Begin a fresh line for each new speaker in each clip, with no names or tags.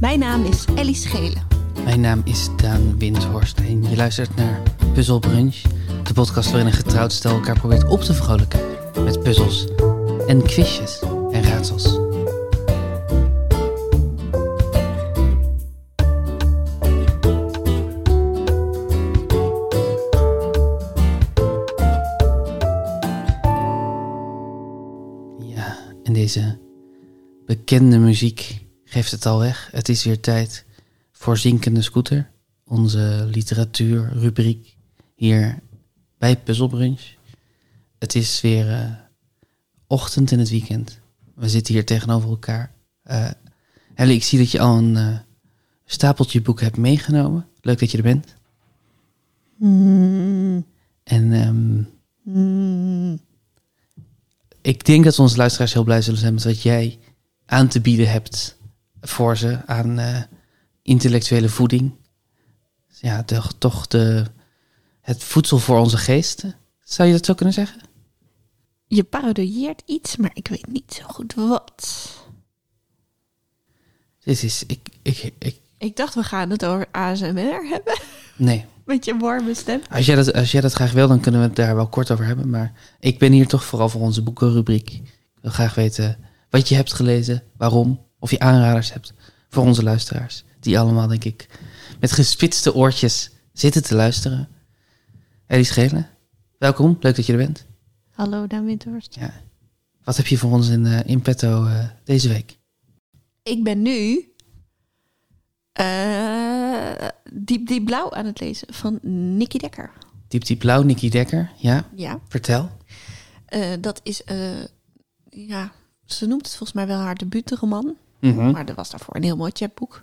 Mijn naam is Ellie Schelen.
Mijn naam is Daan Windhorst en je luistert naar Puzzle Brunch, de podcast waarin een getrouwd stel elkaar probeert op te vrolijken met puzzels en quizjes en raadsels. Ja, en deze bekende muziek geeft het al weg. Het is weer tijd voor Zinkende Scooter, onze literatuurrubriek hier bij Puzzlebrunch. Het is weer eh, ochtend in het weekend. We zitten hier tegenover elkaar. Eh Ellie, ik zie dat je al een eh, stapeltje boeken hebt meegenomen. Leuk dat je er bent. En ehm,
Mm.
ik denk dat onze luisteraars heel blij zullen zijn met wat jij aan te bieden hebt voor ze aan eh, intellectuele voeding. Ja, de, toch de, het voedsel voor onze geesten. Zou je dat zo kunnen zeggen?
Je parodieert iets, maar ik weet niet zo goed wat.
Dit is, ik, ik, ik,
Ik dacht, we gaan het over ASMR hebben.
nee.
Met je warme stem.
Als jij, dat, als jij dat graag wil, dan kunnen we het daar wel kort over hebben. Maar ik ben hier toch vooral voor onze boekenrubriek. Ik wil graag weten wat je hebt gelezen, waarom, of je aanraders hebt voor onze luisteraars. Die allemaal, denk ik, met gespitste oortjes zitten te luisteren. Ellie Schelen, welkom. Leuk dat je er bent.
Hallo, Daan Windhorst.
Ja. Wat heb je voor ons in, eh, in petto eh, deze week?
Ik ben nu eh, Diep Diep Blauw aan het lezen van Nicky Dekker.
Diep Diep Blauw, Nicky Dekker. Ja,
Ja,
vertel.
eh, dat is... eh, ja, ze noemt het volgens mij wel haar debuutroman.
Mhm.
Maar er was daarvoor een heel mooi chapboek.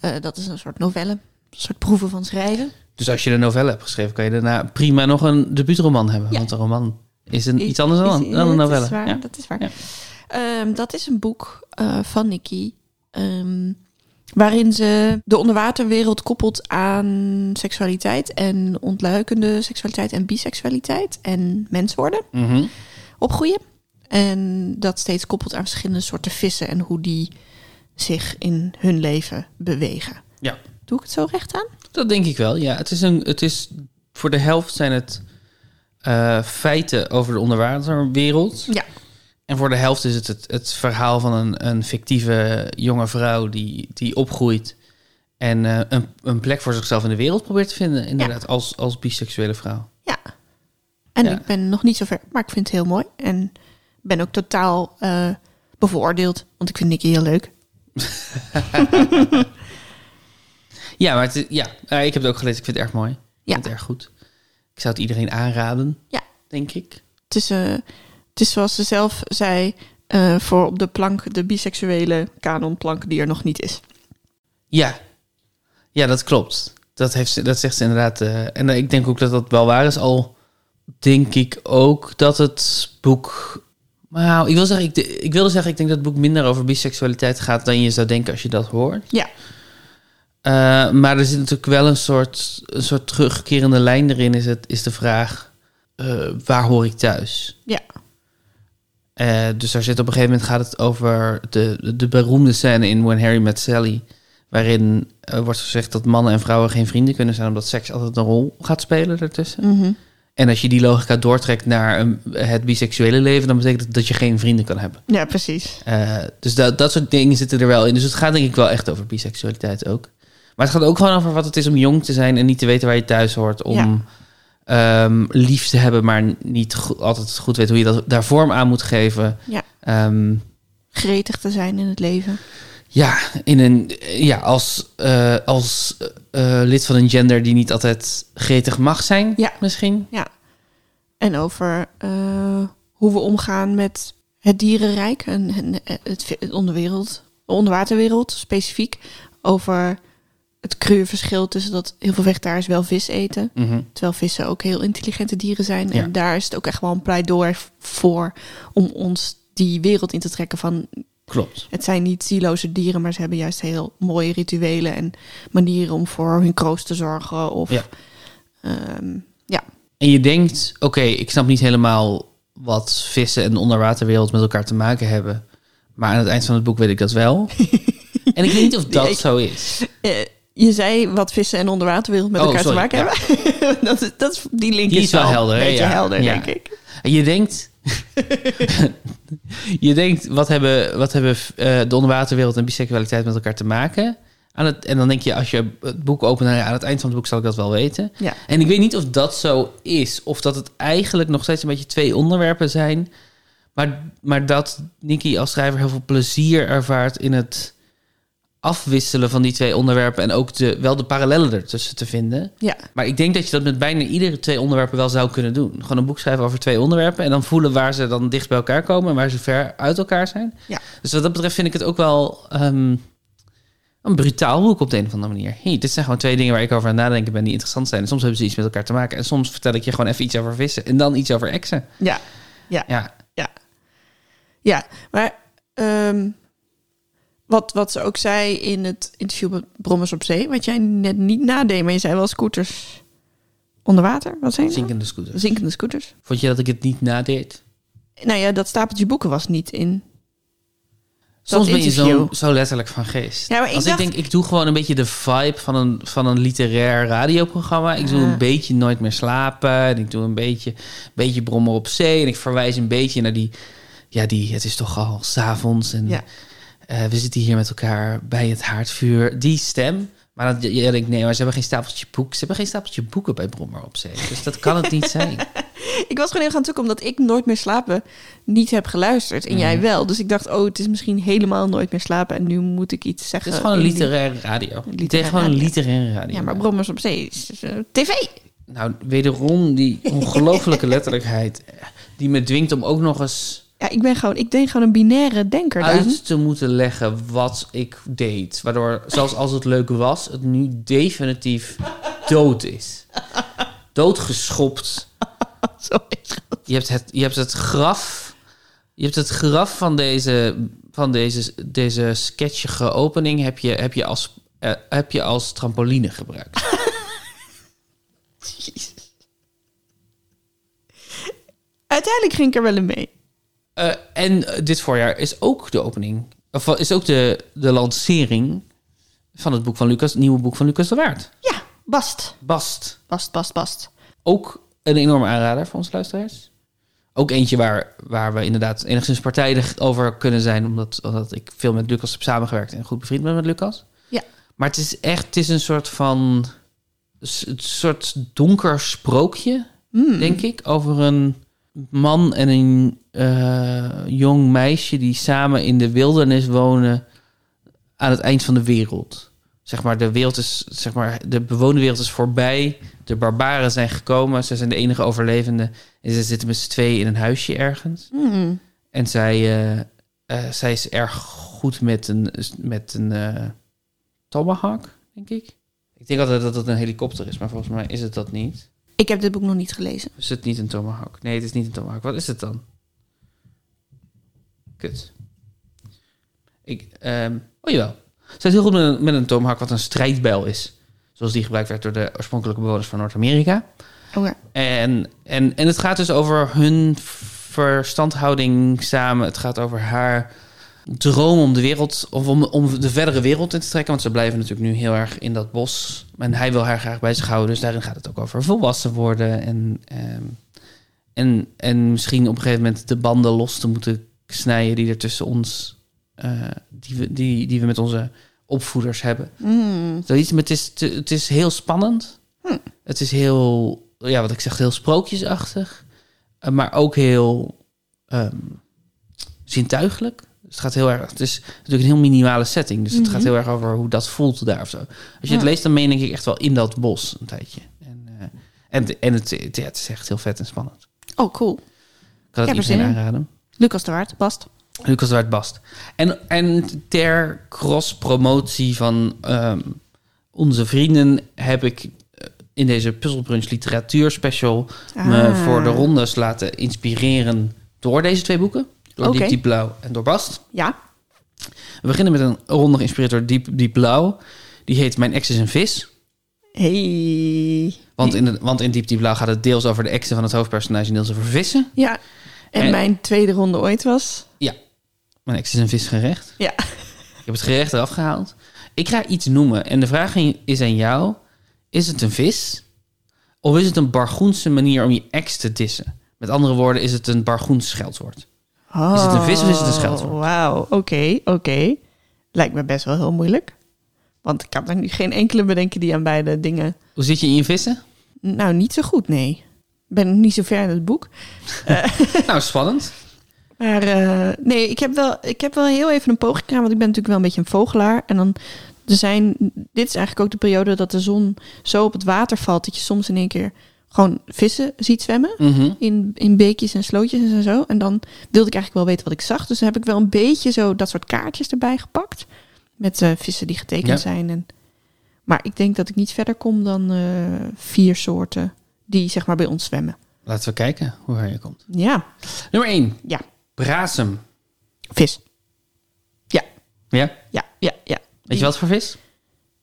Eh, dat is een soort novelle. Een soort proeven van schrijven.
Dus als je de novelle hebt geschreven, kan je daarna prima nog een debuutroman hebben.
Ja.
Want een roman is een,
Is-
iets anders dan,
is-
dan een
dat
novelle.
Is waar,
Ja.
Dat is waar.
Ja.
Ehm, dat is een boek eh, van Nicky. ehm, waarin ze de onderwaterwereld koppelt aan seksualiteit en ontluikende seksualiteit en biseksualiteit en mens worden,
Mhm.
opgroeien. En dat steeds koppelt aan verschillende soorten vissen en hoe die zich in hun leven bewegen.
Ja.
Doe ik het zo recht aan?
Dat denk ik wel, ja. Het is een, het is, voor de helft zijn het eh, feiten over de onderwaterwereld.
Ja.
En voor de helft is het het, het verhaal van een, een fictieve jonge vrouw die, die opgroeit. En eh, een, een plek voor zichzelf in de wereld probeert te vinden. Inderdaad, als, als biseksuele vrouw.
Ja. En
Ja.
ik ben nog niet zo ver, maar ik vind het heel mooi. En ben ook totaal eh, bevooroordeeld, want ik vind Nicky heel leuk.
Ja, maar het, is- ja, eh, ik heb het ook gelezen. Ik vind het erg mooi. Ik
Ja.
vind het erg goed. Ik zou het iedereen aanraden.
Ja.
Denk ik.
Het is, eh, het is zoals ze zelf zei, eh, voor op de plank, de biseksuele kanonplank die er nog niet is.
Ja. Ja, dat klopt. Dat, heeft ze, dat zegt ze inderdaad. eh, en eh, ik denk ook dat dat wel waar is. Al denk ik ook dat het boek... Nou, ik, wil zeggen, ik, de- ik wilde zeggen, ik denk dat het boek minder over biseksualiteit gaat dan je zou denken als je dat hoort.
Ja.
Eh, maar er zit natuurlijk wel een soort, een soort terugkerende lijn erin, is, het, is de vraag, eh, waar hoor ik thuis?
Ja.
Eh, dus daar zit op een gegeven moment gaat het over de, de, de beroemde scène in When Harry Met Sally. Waarin eh, wordt gezegd dat mannen en vrouwen geen vrienden kunnen zijn, omdat seks altijd een rol gaat spelen daartussen.
Mhm.
En als je die logica doortrekt naar een- het biseksuele leven, dan betekent dat dat je geen vrienden kan hebben.
Ja, precies.
Eh, dus dat, dat soort dingen zitten er wel in. Dus het gaat denk ik wel echt over biseksualiteit ook. Maar het gaat ook gewoon over wat het is om jong te zijn en niet te weten waar je thuis hoort. Om
Ja.
ehm, lief te hebben, maar niet go- altijd goed weet hoe je dat, daar vorm aan moet geven.
Ja.
Ehm,
Gretig te zijn in het leven.
ja, in een, ja als, eh, als eh, eh, lid van een gender die niet altijd gretig mag zijn,
Ja.
misschien.
Ja. En over eh, hoe we omgaan met het dierenrijk en, en eh, het, vi- het onderwereld, onderwaterwereld specifiek. Over het cruwe verschil tussen dat heel veel vegetariërs wel vis eten.
Mhm.
Terwijl vissen ook heel intelligente dieren zijn.
Ja.
En daar is het ook echt wel een pleidooi voor om ons die wereld in te trekken van...
Klopt.
Het zijn niet zieloze dieren, maar ze hebben juist heel mooie rituelen en manieren om voor hun kroost te zorgen. Of,
Ja.
ehm, ja.
En je denkt, oké, ik snap niet helemaal wat vissen en de onderwaterwereld met elkaar te maken hebben. Maar aan het eind van het boek weet ik dat wel. En ik weet niet of dat
Ik-
zo is.
Eh, je zei wat vissen en onderwaterwereld met
Oh,
elkaar
sorry,
te maken hebben. dat is, dat is, die link
Die is wel helder,
een
hè?
beetje
Ja.
helder,
Ja.
denk ik.
En je denkt... je denkt, wat hebben, wat hebben eh, de onderwaterwereld en biseksualiteit met elkaar te maken? Aan het, en dan denk je, als je het boek opent, nou ja, aan het eind van het boek zal ik dat wel weten.
Ja.
En ik weet niet of dat zo is. Of dat het eigenlijk nog steeds een beetje twee onderwerpen zijn. Maar, maar dat Nicky als schrijver heel veel plezier ervaart in het afwisselen van die twee onderwerpen. En ook de, wel de parallellen ertussen te vinden.
Ja.
Maar ik denk dat je dat met bijna iedere twee onderwerpen wel zou kunnen doen. Gewoon een boek schrijven over twee onderwerpen. En dan voelen waar ze dan dicht bij elkaar komen. En waar ze ver uit elkaar zijn.
Ja.
Dus wat dat betreft vind ik het ook wel ehm, een brutaal boek op de een of andere manier. Hey, dit zijn gewoon twee dingen waar ik over aan het nadenken ben die interessant zijn. En soms hebben ze iets met elkaar te maken. En soms vertel ik je gewoon even iets over vissen. En dan iets over exen.
Ja.
Ja,
Ja, maar ehm, wat, wat ze ook zei in het interview met Brommers op Zee, wat jij net niet nadeed, maar je zei wel scooters onder water. Wat zijn dat?
zinkende scooters.
Zinkende scooters.
Vond je dat ik het niet nadeed?
Nou ja, dat stapeltje boeken was niet in.
Soms ben je zo,
interview.
zo letterlijk van geest.
Ja, maar ik
Als
dacht-
ik denk, ik doe gewoon een beetje de vibe van een, van een literair radioprogramma. Ik doe
Ah.
een beetje Nooit meer slapen. En ik doe een beetje, beetje Brommer op zee. En ik verwijs een beetje naar die... Ja, die, het is toch al s'avonds. En
Ja.
eh, we zitten hier met elkaar bij het haardvuur. Die stem. Maar dat, je denkt, nee, maar ze hebben geen stapeltje boeken. Ze hebben geen stapeltje boeken bij Brommer op zee. Dus dat kan het niet zijn.
Ik was gewoon heel gaan zoeken omdat ik nooit meer slapen niet heb geluisterd. En jij wel. Dus ik dacht, oh, het is misschien helemaal nooit meer slapen. En nu moet ik iets zeggen.
Het is gewoon een
in die-
literair radio.
Literair
Het is gewoon een
radio.
literair radio.
Ja, maar Brommers op Zee is is, eh, tv.
Nou, wederom die ongelofelijke letterlijkheid. eh, Die me dwingt om ook nog eens
Ja, ik ben gewoon, ik denk gewoon een binaire denker daar.
uit te moeten leggen wat ik deed. Waardoor, zelfs als het leuk was, het nu definitief dood is. Doodgeschopt.
Sorry.
Je hebt het, je hebt het graf. Je hebt het graf van deze, van deze, deze sketchige opening heb je, heb, je als, eh, heb je als trampoline gebruikt.
Uiteindelijk ging ik er wel in mee.
Eh, en eh, dit voorjaar is ook de opening, of eh, is ook de, de lancering van het boek van Lucas, het nieuwe boek van Lucas de Waard.
Ja, bast.
Bast.
Bast, bast, bast.
Ook een enorme aanrader voor onze luisteraars. Ook eentje waar, waar we inderdaad enigszins partijdig over kunnen zijn, omdat, omdat ik veel met Lucas heb samengewerkt en goed bevriend ben met Lucas.
Ja.
Maar het is echt, het is een soort van, een soort donker sprookje
Hmm.
denk ik, over een man en een eh, jong meisje die samen in de wildernis wonen aan het eind van de wereld. Zeg maar, de wereld is, zeg maar, de bewoonde wereld is voorbij. De barbaren zijn gekomen. Ze zijn de enige overlevenden. En ze zitten met z'n tweeën in een huisje ergens.
Hmm.
En zij, eh, eh, zij is erg goed met een, met een eh, tomahawk, denk ik. Ik denk altijd dat het een helikopter is, maar volgens mij is het dat niet.
Ik heb dit boek nog niet gelezen.
Is het niet een tomahawk? Nee, het is niet een tomahawk. Wat is het dan? Kut. Ik, ehm oh jawel. Zij is heel goed met een, met een tomahawk, wat een strijdbijl is. Zoals die gebruikt werd door de oorspronkelijke bewoners van Noord-Amerika.
Oh ja.
En, en, en het gaat dus over hun verstandhouding samen. Het gaat over haar droom om de wereld, of om, om de verdere wereld in te trekken. Want ze blijven natuurlijk nu heel erg in dat bos. En hij wil haar graag bij zich houden. Dus daarin gaat het ook over volwassen worden. En, ehm, en, en misschien op een gegeven moment de banden los te moeten snijden die er tussen ons, eh, die, we, die, die we met onze opvoeders hebben.
Hmm.
Zoiets, maar het is, te- het is heel spannend.
Hm.
Het is heel, ja, wat ik zeg, heel sprookjesachtig. Eh, Maar ook heel ehm, zintuigelijk. Dus het gaat heel erg, het is natuurlijk een heel minimale setting. Dus het
Mhm.
gaat heel erg over hoe dat voelt daar of zo. Als je het
Ja.
leest, dan meen ik echt wel in dat bos een tijdje. En, eh, en, en het, het- ja, het is echt heel vet en spannend.
Oh, cool.
Ik kan
Ja,
het iedereen
precies.
aanraden.
Lucas de Waard, Bast.
Lucas Waard Bast. En, en ter cross-promotie van ehm, onze vrienden heb ik eh, in deze Puzzlebrunch literatuur special me
Ah.
voor de rondes laten inspireren door deze twee boeken. Door
Oké.
Diep Diep Blauw en door Bast.
Ja.
We beginnen met een ronde geïnspireerd door Diep Diep Blauw. Die heet Mijn ex is een vis.
Hey.
Want in, het- want in Diep Diep Blauw gaat het deels over de exen van het hoofdpersonage en deels over vissen.
Ja. En,
En-
mijn tweede ronde ooit was.
Mijn ex is een visgerecht.
Ja.
Je hebt het gerecht eraf gehaald. Ik ga iets noemen. En de vraag aan- is aan jou: is het een vis? Of is het een bargoense manier om je ex te dissen? Met andere woorden, is het een bargoens scheldwoord? Is het een vis of is het een scheldwoord?
Oh, Wauw, oké, oké. Lijkt me best wel heel moeilijk. Want ik kan er nu geen enkele bedenken die aan beide dingen...
Hoe zit je in je vissen?
Nou, niet zo goed, nee. Ik ben nog niet zo ver in het boek.
nou, spannend.
Maar eh, nee, ik heb, wel, ik heb wel heel even een poging gedaan, want ik ben natuurlijk wel een beetje een vogelaar. En dan er zijn, dit is eigenlijk ook de periode dat de zon zo op het water valt, dat je soms in één keer gewoon vissen ziet zwemmen.
Mhm.
In, in beekjes en slootjes en zo. En dan wilde ik eigenlijk wel weten wat ik zag. Dus dan heb ik wel een beetje zo dat soort kaartjes erbij gepakt. Met eh, vissen die getekend
Ja.
zijn. En, maar ik denk dat ik niet verder kom dan eh, vier soorten die zeg maar bij ons zwemmen.
Laten we kijken hoe ver je komt.
Ja,
Nummer 1.
ja,
Brasem.
vis. Ja,
Ja?
ja, ja, ja.
Weet je wat voor vis?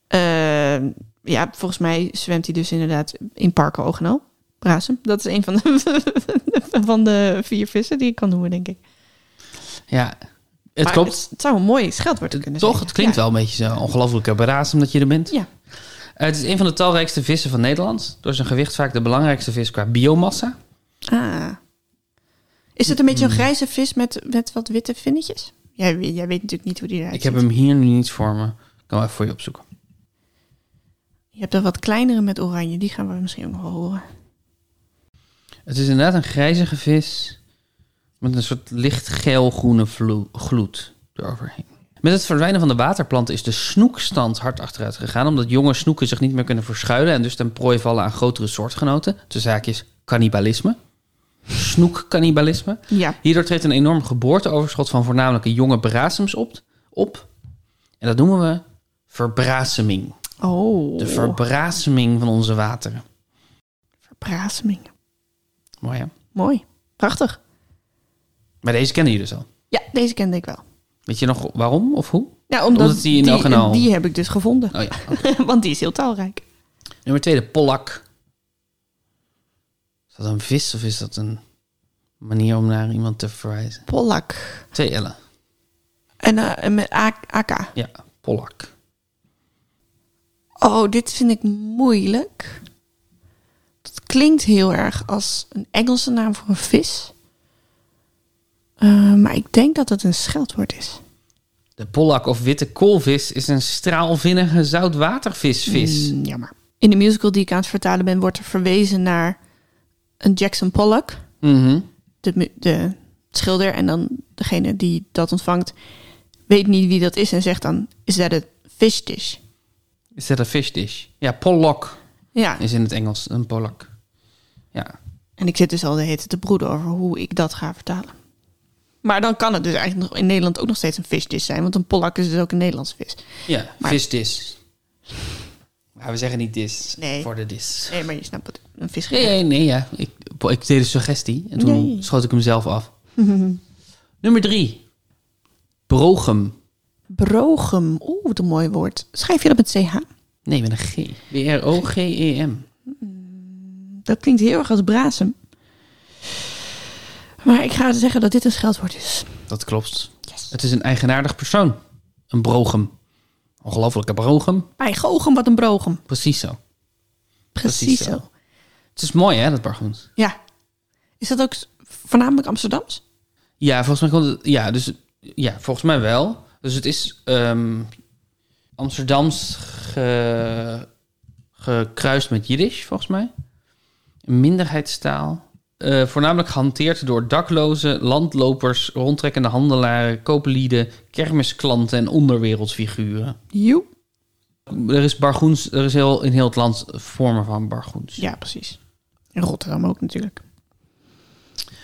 Eh, ja, volgens mij zwemt hij dus inderdaad in Parken Oog en Al. Brasem. Dat is een van de, van de vier vissen die ik kan noemen, denk ik.
Ja, het
Maar
klopt.
Het, het zou een mooi scheldwoord kunnen zijn.
Toch? Het klinkt wel een beetje zo ongelooflijk braas omdat je er bent.
Ja.
Eh, het is een van de talrijkste vissen van Nederland. Door zijn gewicht vaak de belangrijkste vis qua biomassa.
Ah. Is het een beetje een
Mm.
grijze vis met, met wat witte vinnetjes? Jij, weet- jij weet natuurlijk niet hoe die eruit
Ik heb
ziet.
hem hier nu niet voor me. Ik kan hem even voor je opzoeken.
Je hebt er wat kleinere met oranje. Die gaan we misschien ook nog wel horen.
Het is inderdaad een grijzige vis met een soort licht geel-groene vlo- gloed eroverheen. Met het verdwijnen van de waterplanten is de snoekstand hard achteruit gegaan, omdat jonge snoeken zich niet meer kunnen verschuilen en dus ten prooi vallen aan grotere soortgenoten. De zaak is cannibalisme. Snoekkannibalisme.
Ja.
Hierdoor treedt een enorm geboorteoverschot van voornamelijk jonge brasems op. op. En dat noemen we verbraseming.
Oh.
De verbraseming van onze wateren.
verbraseming.
Mooi hè?
Mooi. Prachtig.
Maar deze kennen jullie dus al.
Ja, deze kende ik wel.
Weet je nog waarom of hoe?
Nou, omdat,
Omdat die in Oog en Al-
die heb ik dus gevonden.
Oh ja.
Want die is heel talrijk.
Nummer twee, de pollak. Is dat een vis of is dat een manier om naar iemand te verwijzen?
Pollak.
Twee ellen.
En eh, met A- AK.
Ja, pollak.
Oh, dit vind ik moeilijk. Dat klinkt heel erg als een Engelse naam voor een vis. Eh, maar ik denk dat het een scheldwoord is.
De pollak of witte koolvis is een straalvinnige zoutwatervisvis.
Mm, jammer. In de musical die ik aan het vertalen ben, wordt er verwezen naar een Jackson Pollock.
Mhm.
de, mu- de schilder en dan degene die dat ontvangt weet niet wie dat is en zegt dan is dat een fish dish?
Is dat een fish dish? Ja, pollak
Ja,
is in het Engels een pollak. Ja.
en ik zit dus al de hete te broeden over hoe ik dat ga vertalen. Maar dan kan het dus eigenlijk nog in Nederland ook nog steeds een fish dish zijn, want een pollak is dus ook een Nederlandse vis.
Ja,
Maar-
fish dish. Maar we zeggen niet dis
Nee.
voor de dis.
Nee, maar je snapt het, een vis.
Nee, nee, nee, ja. Ik, ik deed een suggestie en toen
Nee.
schoot ik hem zelf af. Nummer drie. Brogem.
Brogem, oeh, wat een mooi woord. Schrijf je dat met ch?
Nee, met een G. E B-R-O-G-E-M.
Dat klinkt heel erg als brasem. Maar ik ga zeggen dat dit een scheldwoord is.
Dat klopt.
Yes.
Het is een eigenaardig persoon. Een brogem. Ongelooflijke brogem.
Bij Gogem, wat een brogem.
Precies zo.
Precies,
Precies zo.
zo.
Het is mooi, hè, dat bargoens.
Ja. Is dat ook s- voornamelijk Amsterdams?
Ja, volgens mij komt het. Ja, dus, ja volgens mij wel. Dus het is ehm, Amsterdams ge- gekruist met Jiddisch, volgens mij. Een minderheidstaal. Eh, voornamelijk gehanteerd door daklozen, landlopers, rondtrekkende handelaren, kooplieden, kermisklanten en onderwereldfiguren.
Joe.
Er is bargoens, er is heel, in heel het land vormen van bargoens.
Ja, precies. In Rotterdam ook natuurlijk.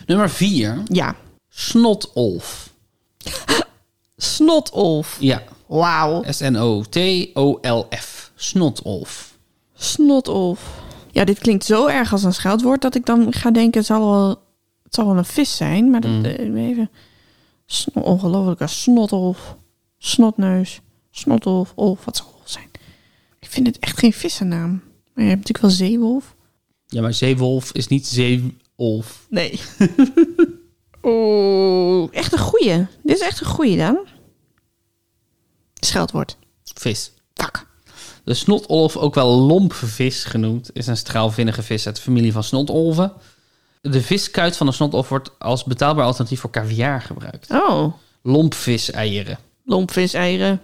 Nummer 4,
Ja.
snotolf.
Snotolf.
Ja,
Wauw.
S-N-O-T-O-L-F. Snotolf.
Snotolf. Ja, dit klinkt zo erg als een scheldwoord dat ik dan ga denken, het zal wel, het zal wel een vis zijn. Maar dat, eh, even. Sno- Ongelooflijke snotolf. Snotneus. Snotolf. Olf. Wat zou olf zijn? Ik vind het echt geen vissennaam. Maar je hebt natuurlijk wel zeewolf.
Ja, maar zeewolf is niet zeewolf.
Nee. Oeh, echt een goeie. Dit is echt een goeie dan. scheldwoord.
Vis.
Fuck.
De snotolf, ook wel lompvis genoemd, is een straalvinnige vis uit de familie van snotolven. De viskuit van de snotolf wordt als betaalbaar alternatief voor caviar gebruikt.
Oh,
Lompvis-eieren.
lompvis, eieren.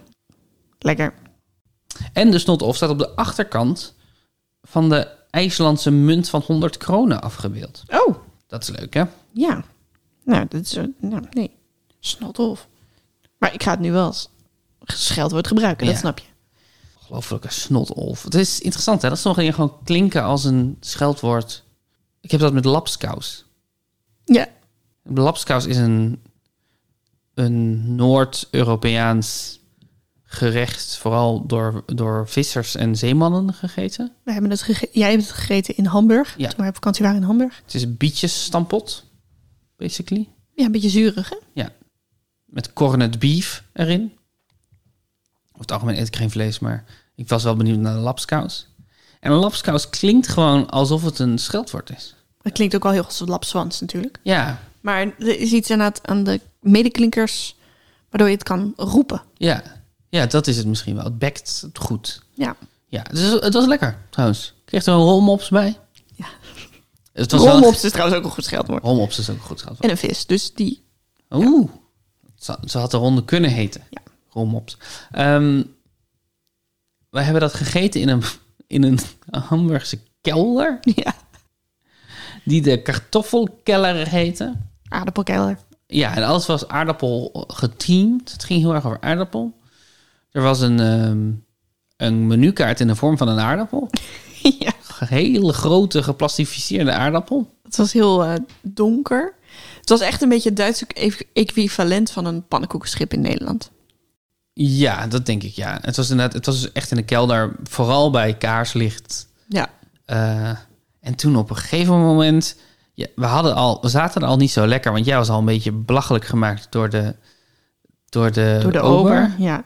Lekker.
En de snotolf staat op de achterkant van de IJslandse munt van 100 kronen afgebeeld.
Oh,
Dat is leuk, hè?
ja. Nou, dat is... eh, nou, nee. Snotolf. Maar ik ga het nu wel als scheldwoord gebruiken, dat
Ja.
snap je.
Ongelooflijke snotolf. Het is interessant, hè? Dat sommige dingen gewoon klinken als een scheldwoord. Ik heb dat met lapskous.
Ja.
Lapskous is een, een Noord-Europeaans gerecht, vooral door, door vissers en zeemannen gegeten.
We hebben het gege- Jij hebt het gegeten in Hamburg.
Ja.
Toen wij op vakantie waren in Hamburg.
Het is een bietjesstampot, basically.
Ja, een beetje zuurig, hè?
Met cornet beef erin. Over het algemeen eet ik geen vlees, maar ik was wel benieuwd naar de lapskous. En een lapskous klinkt gewoon alsof het een scheldwoord is.
Dat klinkt ook al heel als een lapswans natuurlijk.
Ja,
Maar er is iets inderdaad aan de medeklinkers waardoor je het kan roepen.
ja. Ja, dat is het misschien wel. Het bekt het goed.
Ja.
Ja, dus het was lekker trouwens. Ik kreeg er een rolmops bij.
Ja.
Het was wel-
Rolmops is trouwens ook een goed scheldwoord.
Rolmops is ook een goed schat.
En een vis, dus die...
Oeh. Ze, ze had de ronde kunnen heten.
Ja.
Rolmops. Ehm, wij hebben dat gegeten in een, in een Hamburgse kelder.
Ja,
Die de kartoffelkeller heette.
aardappelkeller.
Ja, en alles was aardappel geteamd. Het ging heel erg over aardappel. Er was een, ehm, een menukaart in de vorm van een aardappel.
ja,
Een hele grote geplastificeerde aardappel.
het was heel eh, donker. Het was echt een beetje het Duitse equ- equivalent van een pannenkoekenschip in Nederland.
Ja, dat denk ik ja. Het was inderdaad, het was dus echt in de kelder, vooral bij kaarslicht.
Ja,
Eh, en toen op een gegeven moment, ja, we hadden al, we zaten er al niet zo lekker, want jij was al een beetje belachelijk gemaakt door de, door de,
door de
Eh, ober.
ober. Ja.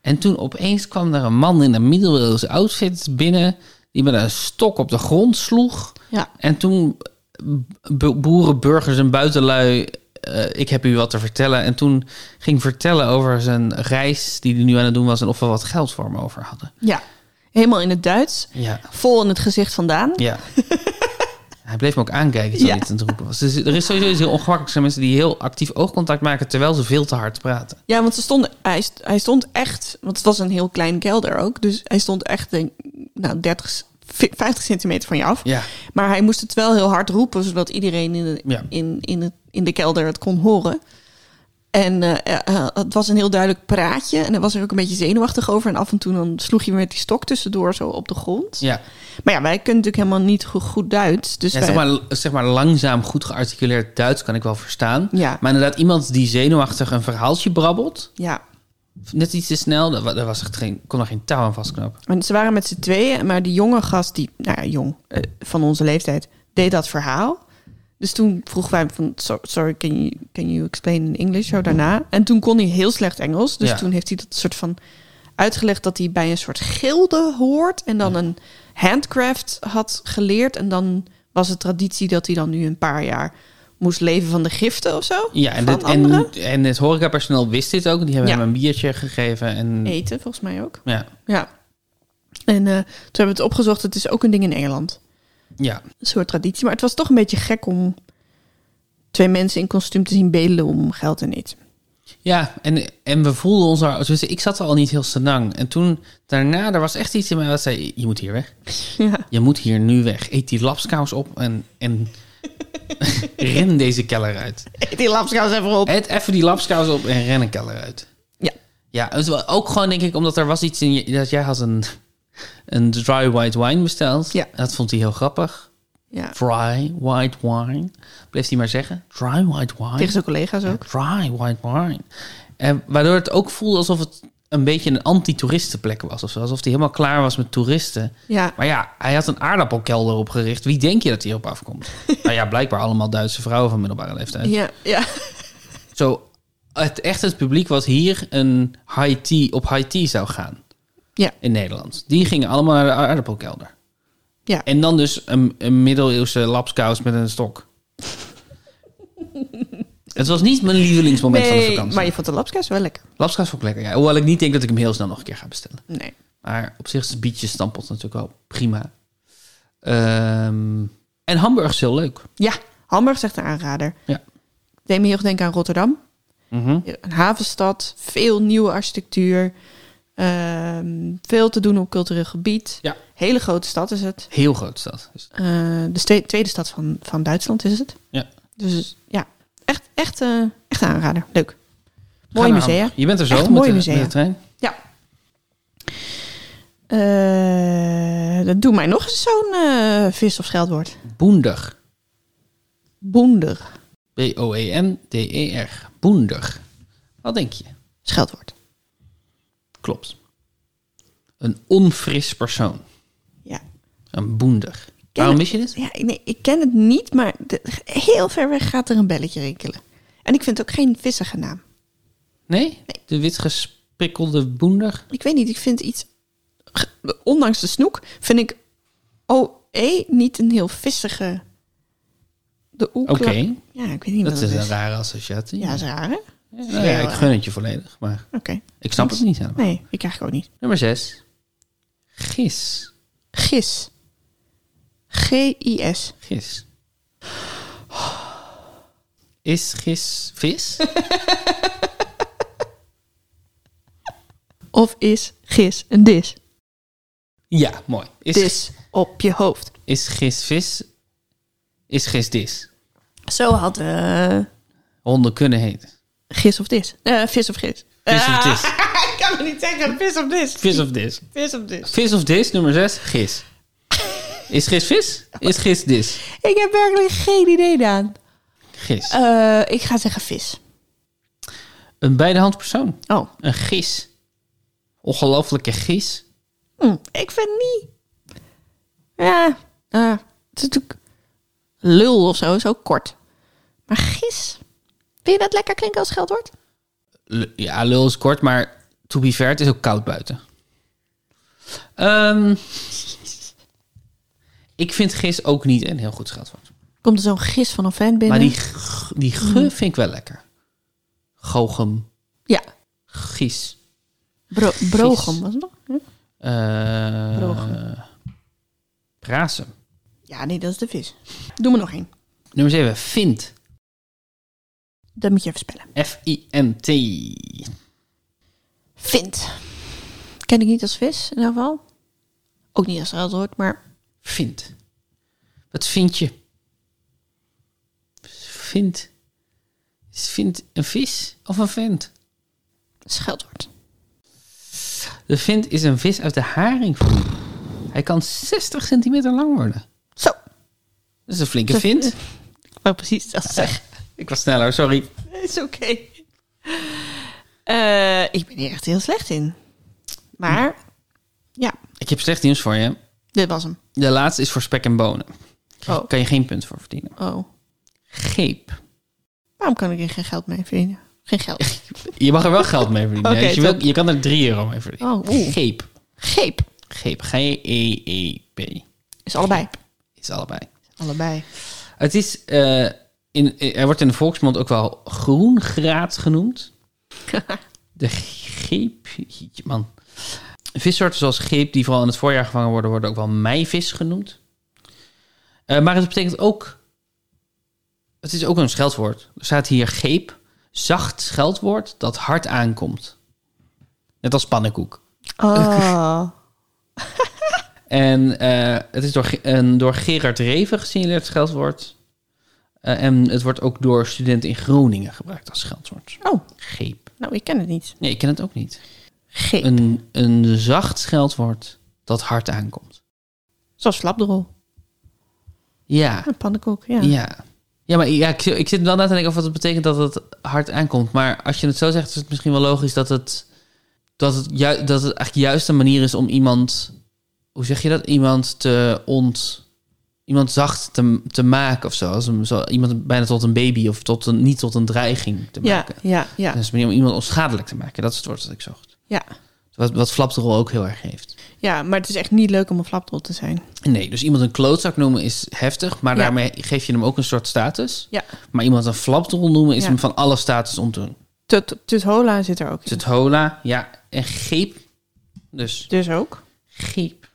En toen opeens kwam er een man in een middeleeuwse outfit binnen, die met een stok op de grond sloeg.
Ja.
En toen b- boeren, burgers en buitenlui, eh, ik heb u wat te vertellen. En toen ging vertellen over zijn reis die hij nu aan het doen was en of we wat geld voor hem over hadden.
ja, helemaal in het Duits.
Ja.
Vol in het gezicht vandaan.
Ja. Hij bleef me ook aankijken terwijl
Ja.
hij het aan het roepen was. Dus er is sowieso iets heel ongemakkelijk. Er zijn mensen die heel actief oogcontact maken terwijl ze veel te hard praten.
Ja, want ze stonden, hij, st- hij stond echt, want het was een heel klein kelder ook. Dus hij stond echt, denk, nou, 30, 50 centimeter van je af.
Ja.
Maar hij moest het wel heel hard roepen, zodat iedereen in de,
Ja.
in, in het, in de kelder het kon horen. En eh, eh, het was een heel duidelijk praatje. En hij was er ook een beetje zenuwachtig over. En af en toe dan sloeg hij met die stok tussendoor zo op de grond.
ja.
Maar ja, wij kunnen natuurlijk helemaal niet go- goed Duits. Dus
Ja,
wij-
zeg, maar, zeg maar langzaam goed gearticuleerd Duits kan ik wel verstaan.
Ja.
Maar inderdaad, iemand die zenuwachtig een verhaaltje brabbelt,
ja.
net iets te snel, daar wa- daar was echt geen, kon er geen touw aan vastknopen.
En ze waren met z'n tweeën, maar die jonge gast, die, nou ja, jong, eh, van onze leeftijd, deed dat verhaal. Dus toen vroeg wij hem van, "So- sorry, can you, can you explain in English? Zo daarna. En toen kon hij heel slecht Engels. Dus
Ja.
toen heeft hij dat soort van uitgelegd dat hij bij een soort gilde hoort. En dan een handcraft had geleerd. En dan was het traditie dat hij dan nu een paar jaar moest leven van de giften of zo.
Ja, en,
van
dit,
anderen.
en, en het horecapersoneel wist dit ook. Die hebben
Ja.
hem een biertje gegeven. En,
Eten, volgens mij ook.
ja,
Ja. En eh, toen hebben we het opgezocht. Het is ook een ding in Engeland.
ja.
een soort traditie. Maar het was toch een beetje gek om twee mensen in kostuum te zien bedelen om geld en eten.
Ja, en, en we voelden ons daar... tenminste, ik zat er al niet heel senang. En toen, daarna, er was echt iets in mij dat zei... Je moet hier weg.
Ja.
Je moet hier nu weg. Eet die lapskous op en, en ren deze keller uit.
Die lapskous even op.
Eet even die lapskous op en ren een keller uit.
Ja.
Ja, het was ook gewoon denk ik omdat er was iets in... je- Dat jij had een, een dry white wine besteld.
Ja.
Dat vond hij heel grappig.
Ja.
Dry white wine. Bleef hij maar zeggen. Dry white wine.
Tegen zijn collega's ook.
Dry white wine. En waardoor het ook voelde alsof het een beetje een anti-toeristenplek was. Of zo. Alsof hij helemaal klaar was met toeristen.
Ja.
Maar ja, hij had een aardappelkelder opgericht. Wie denk je dat hij op afkomt? nou ja, blijkbaar allemaal Duitse vrouwen van middelbare leeftijd.
Ja. Ja.
Zo, het, echt het publiek wat hier een high tea, op high tea zou gaan.
Ja.
In Nederland. Die gingen allemaal naar de aardappelkelder.
Ja.
En dan dus een, een middeleeuwse lapskous met een stok. Het was niet mijn lievelingsmoment van de
Nee,
vakantie.
maar je vond de lapskaas wel lekker.
Lapskaas vond ik lekker, ja. Hoewel ik niet denk dat ik hem heel snel nog een keer ga bestellen.
Nee.
Maar op zich is bietje stampot natuurlijk wel prima. Ehm, en Hamburg is heel leuk.
Ja, Hamburg is echt een aanrader.
Ja.
Ik deed me heel erg denken aan Rotterdam. Een havenstad, veel nieuwe architectuur. ehm, veel te doen op cultureel gebied.
Ja.
Hele grote stad is het.
Heel groot stad. Dus
Eh, de ste- tweede stad van, van Duitsland is het.
Ja.
Dus ja, echt, echt, eh, echt een aanrader. Leuk.
ga
Mooie
naar
musea.
Hamburg. Je bent er zo
Echt
met,
mooie
de,
musea.
met de trein.
Eh, dat doe mij nog eens zo'n eh, vis- of scheldwoord.
Boender.
Boender.
E B-O-E-N-D-E-R. Boender. Wat denk je?
Scheldwoord.
Klopt. Een onfris persoon.
Ja.
Een boender. Waarom wist je dit?
Ja, nee, ik ken het niet, maar de- heel ver weg gaat er een belletje rinkelen. En ik vind het ook geen vissige naam.
Nee? De witgesprikkelde boender?
Ik weet niet, ik vind iets... ge- Ondanks de snoek vind ik OE niet een heel vissige... De oekla...
Oké,
Ja, ik weet niet
dat
wat
is
het
een
is.
rare associatie.
Ja, dat is raar, hè? Oké.
Ja, nou ja, ik gun het je volledig, maar ik snap het niet helemaal.
Nee, ik eigenlijk ook niet.
Nummer 6. Gis.
Gis. G-I-S.
Gis. Is gis vis?
Of is gis een dis?
ja, mooi. Is,
Dis op je hoofd.
is gis vis? Is gis dis?
Zo had eh,
Honden kunnen heten.
gis of dis. Eh, vis of gis.
Vis of
Ah,
dis?
ik kan het niet zeggen. Vis of dis.
Vis of dis?
Vis of dis.
Vis of dis, nummer 6. Gis. Is gis vis? Is gis dis?
Ik heb werkelijk geen idee, Daan.
Gis.
Eh, ik ga zeggen vis.
Een bij de hand persoon.
Oh.
Een gis. Ongelooflijke gis.
Hm, ik vind niet... Ja. eh, het is natuurlijk... Lul of zo is ook kort. Maar gis... Vind je dat lekker klinken als scheldwoord?
L- ja, lul is kort, maar to be fair, het is ook koud buiten. Ehm, ik vind gis ook niet een heel goed scheldwoord.
Komt er zo'n gis van een fan binnen?
Maar die, g- die g vind ik wel lekker. Gochem,
Ja.
gis.
Bro Brogem was het nog? Hm?
eh,
Brogem.
Prasem.
Ja, nee, dat is de vis. Doe me nog één.
Nummer 7, Vint.
Dat moet je even spellen.
F-I-N-T.
Vind. Ken ik niet als vis, in ieder geval. Ook niet als scheldwoord, maar
Vint. Wat vind je? Vint. Is vind een vis of een vent?
scheldwoord.
De vind is een vis uit de haringvloer. Hij kan 60 centimeter lang worden.
Zo.
Dat is een flinke vind.
Ik wou precies dat zeggen.
Ik was sneller, sorry.
is oké. Eh, ik ben hier echt heel slecht in. Maar, ja,
Ik heb slecht nieuws voor je.
dit was hem.
De laatste is voor spek en bonen.
Oh,
Kan je geen punt voor verdienen.
oh.
Geep.
Waarom kan ik hier geen geld mee verdienen? Geen geld.
Je mag er wel geld mee verdienen.
Oké,
hè, dus je,
top.
wil- je kan er 3 euro mee verdienen.
Oh, oeh.
Geep.
Geep.
Geep. G-E-E-P.
Is allebei.
Is allebei.
Allebei.
Het is, eh, in, eh, er wordt in de volksmond ook wel groengraat genoemd. de geep, jeetje, man. Vissoorten zoals geep, die vooral in het voorjaar gevangen worden, worden ook wel meivis genoemd. Eh, maar het betekent ook, het is ook een scheldwoord. Er staat hier geep, zacht scheldwoord dat hard aankomt. Net als pannenkoek.
Oh.
En eh, het is door, Ge- een door Gerard Reven gesignaleerd scheldwoord. Eh, en het wordt ook door studenten in Groningen gebruikt als scheldwoord.
oh,
Geep.
nou, ik ken het niet.
Nee, ik ken het ook niet.
Geep.
Een, een zacht scheldwoord dat hard aankomt.
Zoals slapdrol.
Ja,
Een pannenkoek, ja.
ja. Ja, maar ja, ik, ik zit wel na te denken of wat het betekent dat het hard aankomt. Maar als je het zo zegt, is het misschien wel logisch dat het, dat het, ju- dat het eigenlijk juist een manier is om iemand, hoe zeg je dat, iemand te ont, iemand zacht te, te maken of zo. Als een, zo. Iemand bijna tot een baby of tot een, niet tot een dreiging te
Ja,
maken.
ja, ja.
Dat is een manier om iemand onschadelijk te maken. Dat is het woord dat ik zocht.
Ja,
Wat, wat Flapdrol ook heel erg heeft.
Ja, maar het is echt niet leuk om een flapdrol te zijn.
Nee, dus iemand een klootzak noemen is heftig, maar
Ja.
daarmee geef je hem ook een soort status.
Ja.
Maar iemand een flapdrol noemen is
Ja.
hem van alle status ontdoen.
Tut, tut hola zit er ook
Dus
in.
het hola, ja, en geep. Dus
Dus ook.
geep.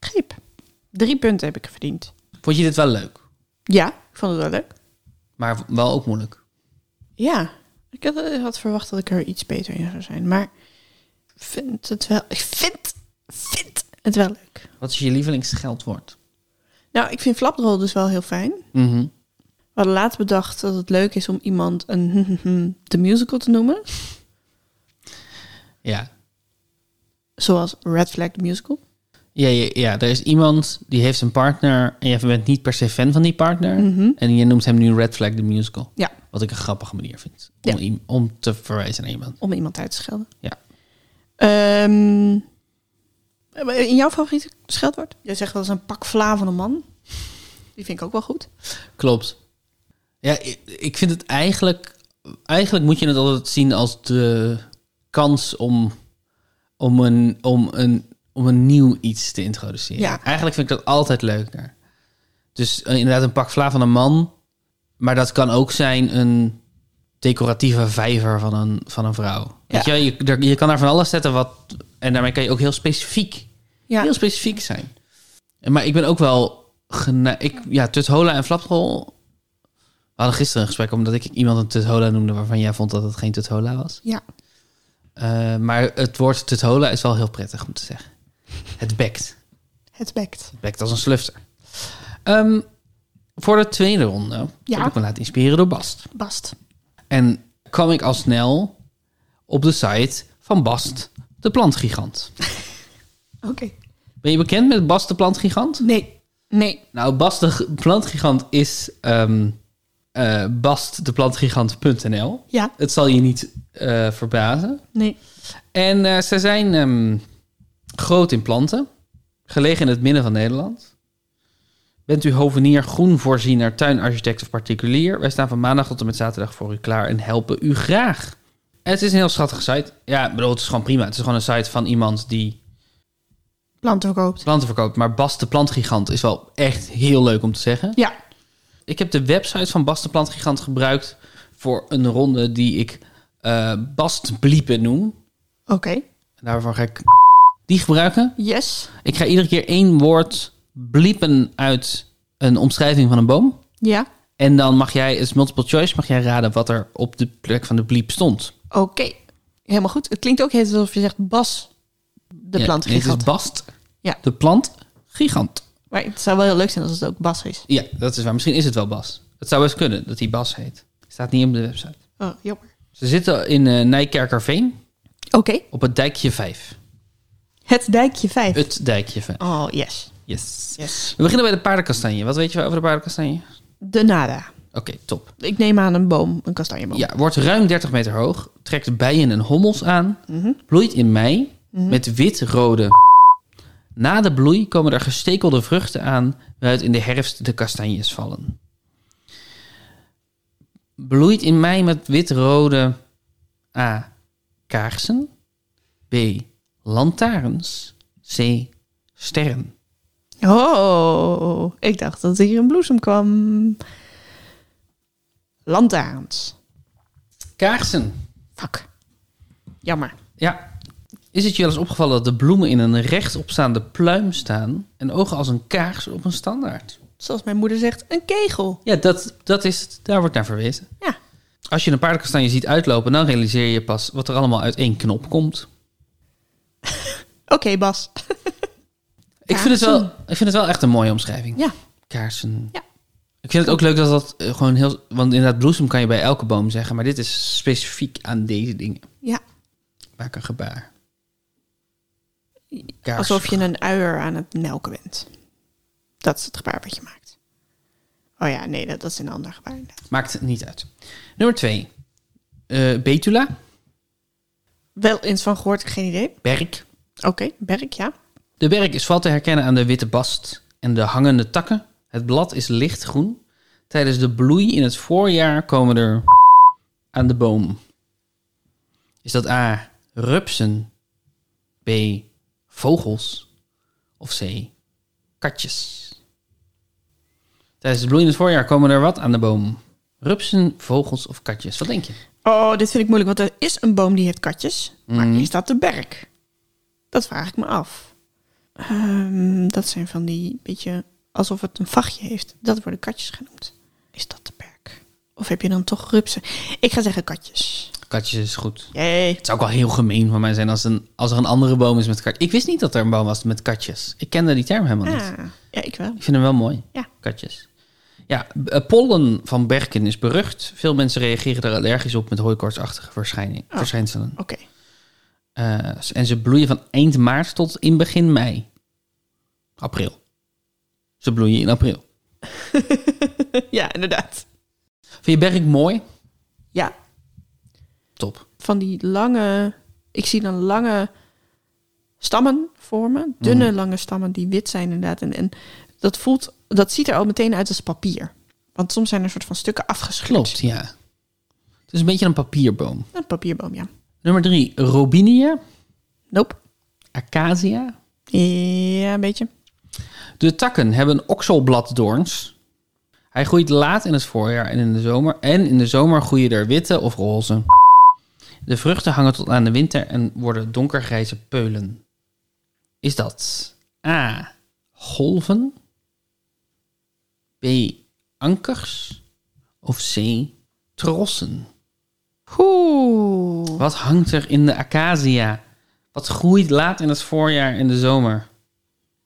Greep. Drie punten heb ik verdiend.
Vond je dit wel leuk,
Ja, ik vond het wel leuk.
maar wel ook moeilijk.
Ja, ik had, eh, had verwacht dat ik er iets beter in zou zijn. Maar ik vind het wel... Ik vind, vind het wel leuk.
Wat is je lievelingsgeldwoord?
Nou, ik vind flapdrol dus wel heel fijn.
Mhm.
We hadden laatst bedacht dat het leuk is om iemand een de musical te noemen.
Ja.
Zoals Red Flag the Musical.
Ja, ja, ja, er is iemand die heeft een partner en je bent niet per se fan van die partner. En je noemt hem nu Red Flag the Musical.
Ja.
Wat ik een grappige manier vind om,
Ja.
i- om te verwijzen naar iemand.
Om iemand uit te schelden.
Ja.
Ehm, in jouw favoriete scheldwoord? Jij zegt wel eens een pak vla van een man. Die vind ik ook wel goed.
Klopt. Ja, i- ik vind het eigenlijk... Eigenlijk moet je het altijd zien als de kans om, om, een, om, een, om een nieuw iets te introduceren.
Ja.
Eigenlijk vind ik dat altijd leuker. Dus eh, inderdaad een pak vla van een man. Maar dat kan ook zijn een decoratieve vijver van een, van een vrouw. Weet je, wel, je, daar- je kan daar van alles zetten wat... En daarmee kan je ook heel specifiek
Ja.
heel specifiek zijn. En Maar ik ben ook wel... Gena- ik, ja, Tut Hola en Flapdrol... We hadden gisteren een gesprek omdat ik iemand een Tut Hola noemde... waarvan jij vond dat het geen Tut Hola was.
Ja.
Eh, maar het woord Tut Hola is wel heel prettig om te zeggen. Het bekt.
Het bekt.
Het bekt als een slufter. Ehm, voor de tweede ronde
Ja.
heb ik me laten inspireren door Bast.
Bast.
En kwam ik al snel op de site van Bast, de plantgigant.
Oké.
Ben je bekend met Bast, de plantgigant?
Nee. Nee.
Nou, Bast de g- plantgigant is ehm eh bastdeplantgigant.nl.
Ja.
Het zal je niet eh, verbazen.
Nee.
En eh, ze zijn ehm, groot in planten, gelegen in het midden van Nederland. Bent u hovenier, groenvoorziener, tuinarchitect of particulier? Wij staan van maandag tot en met zaterdag voor u klaar en helpen u graag. En het is een heel schattige site. Ja, ik bedoel, het is gewoon prima. Het is gewoon een site van iemand die
Planten verkoopt.
planten verkoopt. Maar Bas de plantgigant is wel echt heel leuk om te zeggen.
Ja.
Ik heb de website van Bas de Plantgigant gebruikt voor een ronde die ik eh Bast Bliepen noem.
Oké.
Daarvoor ga ik die gebruiken.
Yes.
Ik ga iedere keer één woord bliepen uit een omschrijving van een boom.
Ja.
En dan mag jij, het is multiple choice, mag jij raden wat er op de plek van de bliep stond.
Oké. Helemaal goed. Het klinkt ook heel alsof je zegt Bas, de
Ja, Dit
plantgigant.
is Bast
Ja.
de plantgigant.
maar het zou wel heel leuk zijn als het ook Bas is.
Ja, dat is waar. Misschien is het wel Bas. Het zou best kunnen dat hij Bas heet. Staat niet op de website.
Oh, jammer.
Ze zitten in eh Nijkerkerveen
Oké.
op het dijkje 5.
Het dijkje 5.
Het dijkje 5.
Oh, yes.
Yes.
Yes.
We beginnen bij de paardenkastanje. Wat weet je wel over de paardenkastanje?
De nada.
Oké, top.
Ik neem aan een boom, een kastanjeboom.
Ja, wordt ruim 30 meter hoog, trekt bijen en hommels aan,
Mhm.
bloeit in mei met wit-rode. Na de bloei komen er gestekelde vruchten aan, waaruit in de herfst de kastanjes vallen. Bloeit in mei met wit-rode A. Kaarsen. B. Lantaarns. C. Sterren.
Oh, ik dacht dat hier een bloesem kwam. Lantaarns.
Kaarsen.
Fuck. Jammer.
Ja. Is het je wel eens opgevallen dat de bloemen in een rechtopstaande pluim staan en ogen als een kaars op een standaard?
Zoals mijn moeder zegt, een kegel.
Ja, dat, dat is het. Daar wordt naar verwezen.
Ja.
Als je een paardenkastanje ziet uitlopen, dan realiseer je pas wat er allemaal uit één knop komt.
Oké, Bas.
Ik vind, het wel,
Kaarsen.
ik vind het wel echt een mooie omschrijving.
Ja.
Kaarsen.
Ja.
Ik vind het ook leuk dat dat eh, gewoon heel... Want inderdaad, bloesem kan je bij elke boom zeggen, maar dit is specifiek aan deze dingen.
Ja.
Maak een gebaar. Kaars.
Alsof je een uier aan het melken bent. Dat is het gebaar wat je maakt. Oh ja, nee, dat, dat is een ander gebaar. inderdaad.
Maakt het niet uit. Nummer twee. Eh, Betula.
Wel eens van gehoord, geen idee.
Berk.
Oké, berk, ja.
De berk is valt te herkennen aan de witte bast en de hangende takken. Het blad is lichtgroen. Tijdens de bloei in het voorjaar komen er aan de boom. Is dat A. Rupsen. B. Vogels. of C. Katjes. Tijdens het bloeiend voorjaar komen er wat aan de boom. Rupsen, vogels of katjes? Wat denk je?
Oh, dit vind ik moeilijk, want er is een boom die heeft katjes. Maar
Mhm.
is dat de berk? Dat vraag ik me af. Ehm, dat zijn van die beetje alsof het een vachtje heeft. Dat worden katjes genoemd. Is dat de berk? Of heb je dan toch rupsen? Ik ga zeggen katjes.
Katjes is goed.
Jee.
Het zou ook wel heel gemeen voor mij zijn als, een, als er een andere boom is met katjes. Ik wist niet dat er een boom was met katjes. Ik kende die term helemaal niet.
Ah, ja, ik wel.
Ik vind hem wel mooi.
Ja.
Katjes. Ja, b- eh, pollen van berken is berucht. Veel mensen reageren er allergisch op met hooikoortsachtige verschijning-
Oh.
verschijnselen.
Oké.
Eh, s- en ze bloeien van eind maart tot in begin mei. April. Ze bloeien in april.
ja, inderdaad.
Vind je berk mooi?
Ja,
Top.
van die lange... Ik zie dan lange stammen vormen. Dunne lange stammen die wit zijn inderdaad. En, en dat voelt... Dat ziet er al meteen uit als papier. Want soms zijn er soort van stukken afgescheurd.
Klopt, ja. Het is een beetje een papierboom.
Een papierboom, ja.
Nummer drie, Robinia,
Nope.
Acacia.
Ja, een beetje.
De takken hebben okselbladdoorns. Hij groeit laat in het voorjaar en in de zomer. En in de zomer groeien er witte of roze. De vruchten hangen tot aan de winter en worden donkergrijze peulen. Is dat A. Golven? B. Ankers? Of C. Trossen?
Oeh.
Wat hangt er in de acacia? Wat groeit laat in het voorjaar en de zomer?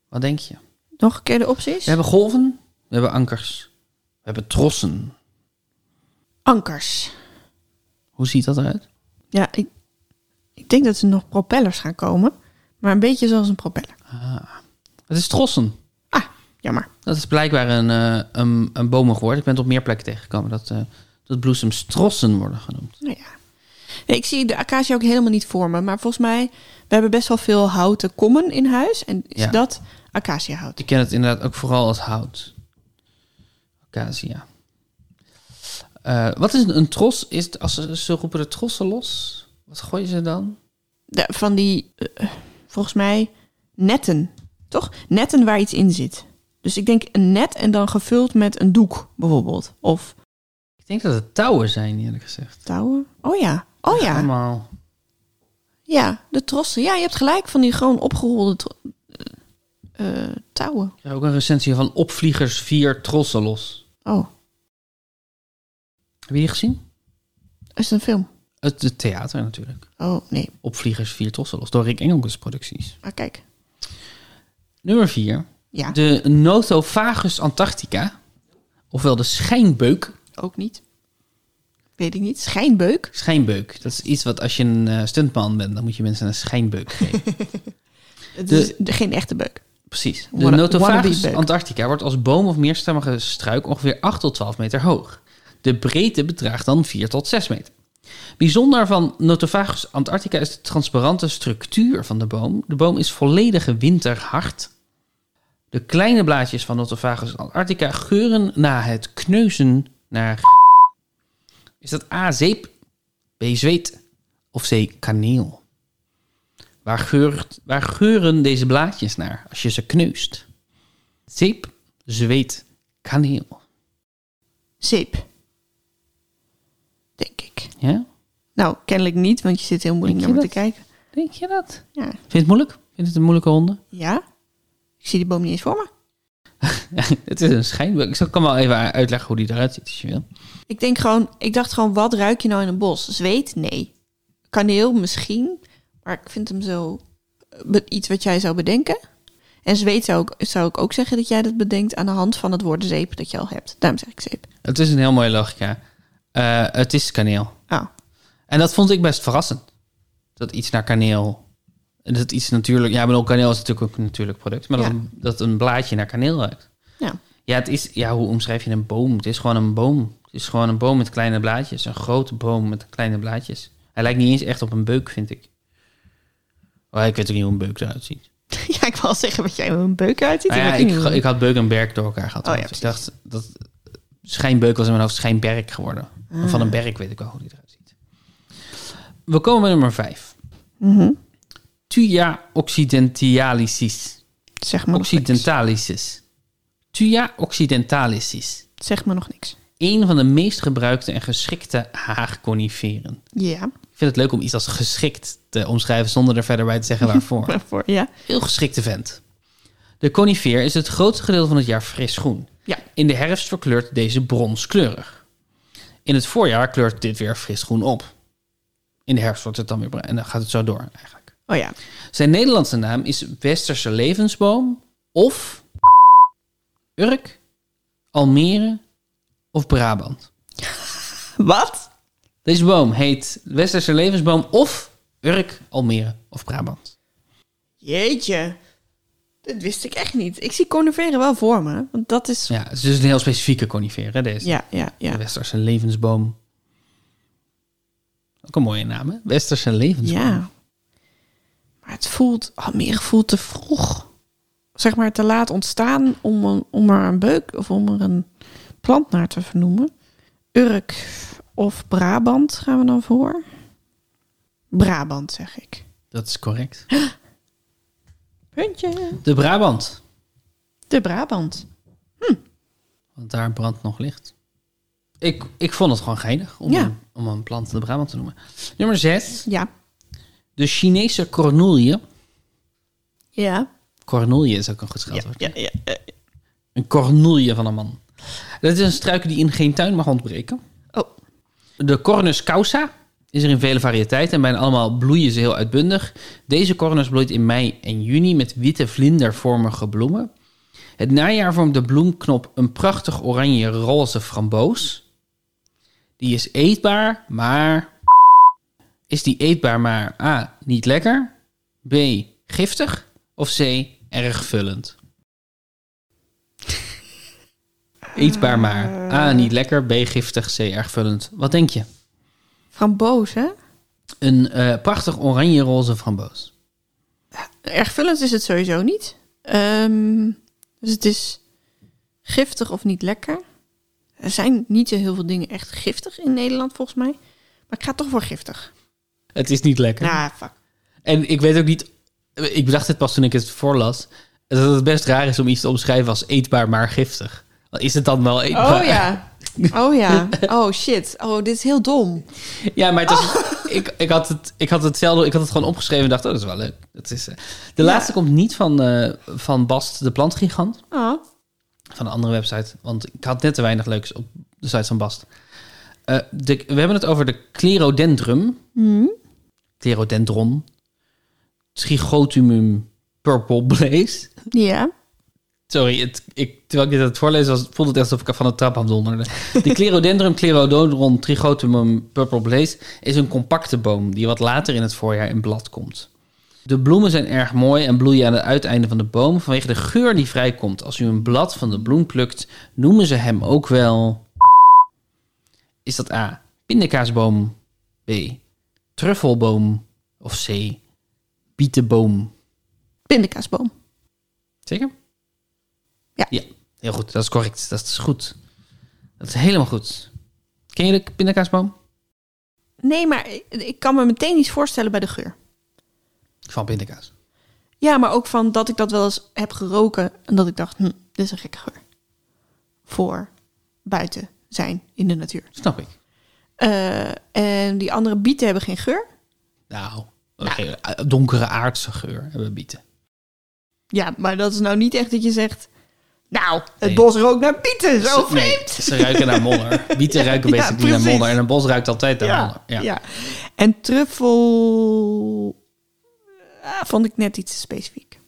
Wat denk je?
Nog een keer de opties.
We hebben golven, we hebben ankers, we hebben trossen.
Ankers.
Hoe ziet dat eruit?
Ja, ik, ik denk dat er nog propellers gaan komen. Maar een beetje zoals een propeller.
Het is trossen.
Ah, jammer.
Dat is blijkbaar een, eh een, een bomen geworden. Ik ben het op meer plekken tegengekomen dat, eh, dat bloesems trossen worden genoemd.
Nou ja. Nee, ik zie de acacia ook helemaal niet voor me. Maar volgens mij, we hebben best wel veel houten kommen in huis. En is
Ja.
dat acaciahout?
Ik ken het inderdaad ook vooral als hout. Acacia. Eh, wat is een, een tros? Is het- als ze, ze roepen de trossen los, wat gooien ze dan?
De- van die, eh, eh, volgens mij, netten. Toch? Netten waar iets in zit. Dus ik denk een net en dan gevuld met een doek bijvoorbeeld. Of
Ik denk dat het touwen zijn, eerlijk gezegd.
touwen. Oh ja. Oh ja.
Allemaal.
Ja, de trossen. Ja, je hebt gelijk van die gewoon opgerolde tro- eh, eh, touwen.
Ik heb ook een recensie van Opvliegers 4 trossen los.
Oh,
Heb je die gezien?
is het een film?
Het, het theater natuurlijk.
Oh, nee.
Opvliegers 4 Tosselos door Rick Engelkes producties.
Maar kijk.
Nummer 4.
Ja,
De Notophagus antarctica. Ofwel de schijnbeuk.
ook niet. Weet ik niet. Schijnbeuk.
Schijnbeuk. Dat is iets wat als je een eh, stuntman bent, dan moet je mensen een schijnbeuk geven.
Het
De-
is dus de- geen echte beuk.
Precies. De
Wanna-
Notophagus
wannabe-beuk.
antarctica wordt als boom of meerstemmige struik ongeveer 8 tot 12 meter hoog. De breedte bedraagt dan 4 tot 6 meter. Bijzonder van Notophagus antarctica is de transparante structuur van de boom. De boom is volledige winterhard. De kleine blaadjes van Notophagus antarctica geuren na het kneuzen naar... Is dat A, zeep, B, zweet of C, kaneel? Waar, geurt, waar geuren deze blaadjes naar als je ze kneust? Zeep, zweet, kaneel.
Zeep. Denk ik.
Ja?
Nou, kennelijk niet, want je zit heel moeilijk naar
Denk
me
je
te kijken.
Denk je dat?
Ja.
Vind je het moeilijk? Vind je het een moeilijke ronde?
ja? Ik zie die boom niet eens voor me.
het is een schijnbeuk. Ik zal- kan wel even uitleggen hoe die eruit ziet als je wil.
Ik denk gewoon, ik dacht gewoon, wat ruik je nou in een bos? Zweet? Nee. Kaneel misschien, maar ik vind hem zo eh, be- iets wat jij zou bedenken. En zweet zou ik, zou ik ook zeggen dat jij dat bedenkt aan de hand van het woord zeep dat je al hebt. Daarom zeg ik zeep.
Het is een heel mooie logica. Eh, het is kaneel.
Oh,
En dat vond ik best verrassend. Dat iets naar kaneel. Dat iets natuurlijk. Ja, maar ook kaneel is natuurlijk ook een natuurlijk product. Maar dat,
Ja.
een, dat een blaadje naar kaneel ruikt.
ja.
Ja, het is, ja, hoe omschrijf je een boom? Het is gewoon een boom. Het is gewoon een boom met kleine blaadjes. Een grote boom met kleine blaadjes. Hij lijkt niet eens echt op een beuk, vind ik. Oh, ik weet ook niet hoe een beuk eruit ziet.
ja, ik wil zeggen wat jij met een beuk uitziet.
Nou ja,
weet ik
ik,
niet.
ik had beuk en berk door elkaar gehad.
Oh ja,
Dus ik dacht, dat schijnbeuk was in mijn hoofd schijnberk geworden. En
Ah.
van een berk weet ik wel hoe die eruit ziet. We komen bij nummer 5.
Mhm.
Tuya occidentalicis.
Zeg me nog niks.
Occidentalicis. Thuja occidentalicis.
Zeg me nog niks.
Een van de meest gebruikte en geschikte haagconiferen.
Ja,
Ik vind het leuk om iets als geschikt te omschrijven zonder er verder bij te zeggen waarvoor.
waarvoor? Ja.
Heel geschikte vent. De conifeer is het grootste gedeelte van het jaar fris groen.
Ja.
In de herfst verkleurt deze bronskleurig. In het voorjaar kleurt dit weer fris groen op. In de herfst wordt het dan weer bruin en dan gaat het zo door eigenlijk.
Oh ja.
Zijn Nederlandse naam is Westerse levensboom of Urk, Almere of Brabant.
Wat?
Deze boom heet Westerse levensboom of Urk, Almere of Brabant.
Jeetje. Dat wist ik echt niet. Ik zie coniferen wel voor me. Want dat is...
Ja, het is dus een heel specifieke conifeer, hè, deze.
Ja, ja, ja.
De Westerse levensboom. Ook een mooie naam, hè? Westerse levensboom.
Ja. Maar het voelt... Almere voelt te vroeg. Zeg maar te laat ontstaan om, een- om er een beuk of om er een plant naar te vernoemen. Urk of Brabant gaan we dan voor. Brabant, zeg ik.
Dat is correct.
Puntje.
De Brabant,
De Brabant.
want daar brandt nog licht. Ik, ik vond het gewoon geinig om,
Ja.
een, om een plant de Brabant te noemen. Nummer 6,
Ja.
de Chinese cornoelje.
Ja.
Cornoelje is ook een goed
Ja,
scheldwoord.
ja, ja, ja.
Een cornoelje van een man. Dat is een struik die in geen tuin mag ontbreken.
Oh,
De Cornus causa is er in vele variëteiten en bijna allemaal bloeien ze heel uitbundig. Deze cornus bloeit in mei en juni met witte vlindervormige bloemen. Het najaar vormt de bloemknop een prachtig oranje-roze framboos. Die is eetbaar, maar... Is die eetbaar, maar A. niet lekker, B. giftig of C. erg vullend? Eetbaar maar. A. niet lekker. B. giftig. C. erg vullend. Wat denk je?
framboos, hè?
Een eh, prachtig oranje-roze framboos.
Erg vullend is het sowieso niet. Ehm, dus het is giftig of niet lekker. Er zijn niet zo heel veel dingen echt giftig in Nederland, volgens mij. Maar ik ga toch voor giftig.
Het is niet lekker.
Nou, fuck.
En ik weet ook niet... Ik bedacht het pas toen ik het voorlas. Dat het best raar is om iets te omschrijven als eetbaar maar giftig. Is het dan wel eetbaar?
Oh ja. Oh ja. Oh shit. Oh, dit is heel dom.
Ja, maar het was,
Oh.
ik, ik, had het, ik had hetzelfde. Ik had het gewoon opgeschreven en dacht, oh, dat is wel leuk. Dat is, eh, de
Ja.
laatste komt niet van, eh, van Bast, de plantgigant.
Oh.
Van een andere website. Want ik had net te weinig leuks op de site van Bast. Eh, de, we hebben het over de clerodendrum.
Hmm.
Clerodendron. Trichotumum purple blaze.
Ja.
Sorry, het, ik, terwijl ik dit aan het voorlezen was, voelde het echt alsof ik van de trap afdonderde. De Clerodendrum Clerododron Trichotumum purple blaze is een compacte boom die wat later in het voorjaar in blad komt. De bloemen zijn erg mooi en bloeien aan het uiteinde van de boom vanwege de geur die vrijkomt. Als u een blad van de bloem plukt, noemen ze hem ook wel... Is dat A. Pindakaasboom, B. Truffelboom of C. Bietenboom?
Pindakaasboom.
Zeker?
Ja.
Ja, heel goed. Dat is correct. Dat is goed. Dat is helemaal goed. Ken je de pindakaasboom?
Nee, maar ik- ik kan me meteen iets voorstellen bij de geur.
Van pindakaas.
Ja, maar ook van dat ik dat wel eens heb geroken en dat ik dacht, hm, dit is een gekke geur. Voor buiten zijn in de natuur.
Snap ik.
Eh, en die andere bieten hebben geen geur.
Nou, een gele- eh, donkere aardse geur hebben bieten.
Ja, maar dat is nou niet echt dat je zegt, nou, het
Nee.
bos rookt naar bieten, zo
Ze- nee,
vreemd.
ze ruiken naar modder. Bieten ruiken
ja,
basically naar
precies.
modder. En een bos ruikt altijd naar modder.
Ja, ja.
Ja.
En truffel ah, vond ik net iets te specifiek.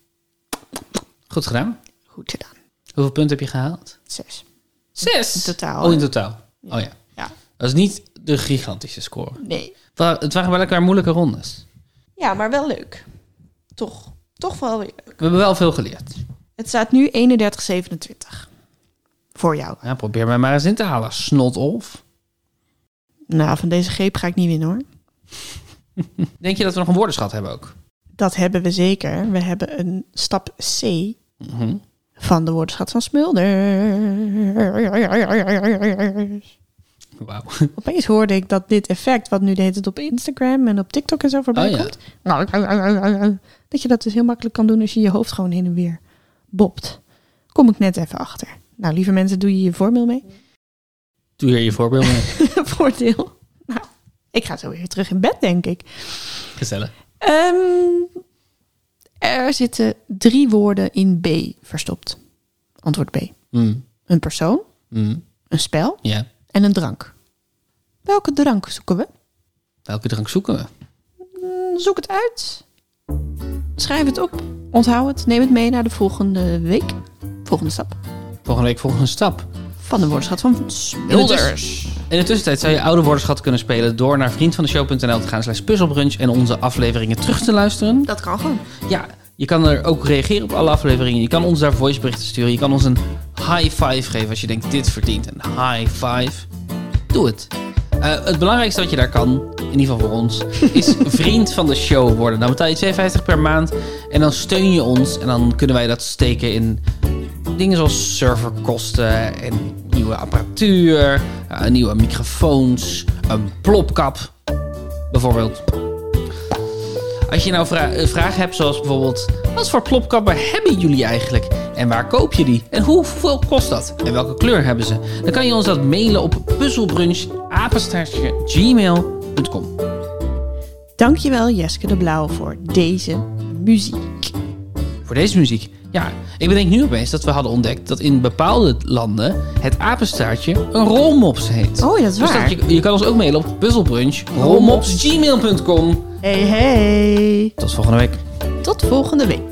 Goed gedaan.
Goed gedaan.
Hoeveel punten heb je gehaald?
Zes.
Zes.
In totaal,
Oh, in
hè?
totaal. Oh ja.
Ja,
Dat is niet de gigantische score.
nee.
Het wa- Het waren wel elkaar moeilijke rondes.
Ja, maar wel leuk. Toch. Toch wel weer leuk.
We hebben wel veel geleerd.
Het staat nu 31,27. Voor jou.
Ja, probeer mij maar eens in te halen. Snot of.
Nou, van deze greep ga ik niet winnen hoor.
Denk je dat we nog een woordenschat hebben ook?
Dat hebben we zeker. We hebben een stap C
Mhm.
van de woordenschat van Smulder.
Wauw.
Opeens hoorde ik dat dit effect, wat nu de hele tijd op Instagram en op TikTok en zo voorbij Nou,
Oh ja.
komt. Dat je dat dus heel makkelijk kan doen als je je hoofd gewoon heen en weer bobt. Kom ik net even achter. Nou, lieve mensen, doe je je voorbeeld mee?
Doe hier je voorbeeld mee.
Voordeel. Nou, ik ga zo weer terug in bed, denk ik.
Gezellig.
Ehm, er zitten drie woorden in B verstopt. Antwoord B.
Mm,
Een persoon,
mm,
een spel
ja.
en een drank. Welke drank zoeken we?
Welke drank zoeken we?
Mm, Zoek het uit. Schrijf het op. Onthoud het. Neem het mee naar de volgende week. Volgende stap.
Volgende week volgende stap.
Van de woordenschat van Smulders.
In de tussentijd zou je oude woordenschat kunnen spelen door naar vriendvandeshow.nl te gaan slash puzzelbrunch en onze afleveringen terug te luisteren.
Dat kan gewoon.
Ja, je kan er ook reageren op alle afleveringen. Je kan ons daar voiceberichten sturen. Je kan ons een high five geven als je denkt dit verdient. Een high five. Doe het. Eh, het belangrijkste wat je daar kan, in ieder geval voor ons, is vriend van de show worden. Dan betaal je 2,50 per maand en dan steun je ons. En dan kunnen wij dat steken in dingen zoals serverkosten en nieuwe apparatuur, eh, nieuwe microfoons, een plopkap bijvoorbeeld. Als je nou vra- eh, vragen hebt zoals bijvoorbeeld... Wat voor plopkappen hebben jullie eigenlijk? En waar koop je die? En hoeveel kost dat? En welke kleur hebben ze? Dan kan je ons dat mailen op puzzelbrunch@gmail.com.
Dankjewel Jeske de Blauw voor deze muziek.
Voor deze muziek. Ja, ik bedenk nu opeens dat we hadden ontdekt... dat in bepaalde landen het apenstaartje een rolmops heet.
Oh, dat is
Dus
waar.
dat je, je kan ons ook mailen op puzzelbrunch@rolmops.gmail.com.
Hey, hey.
Tot volgende week.
Tot volgende week.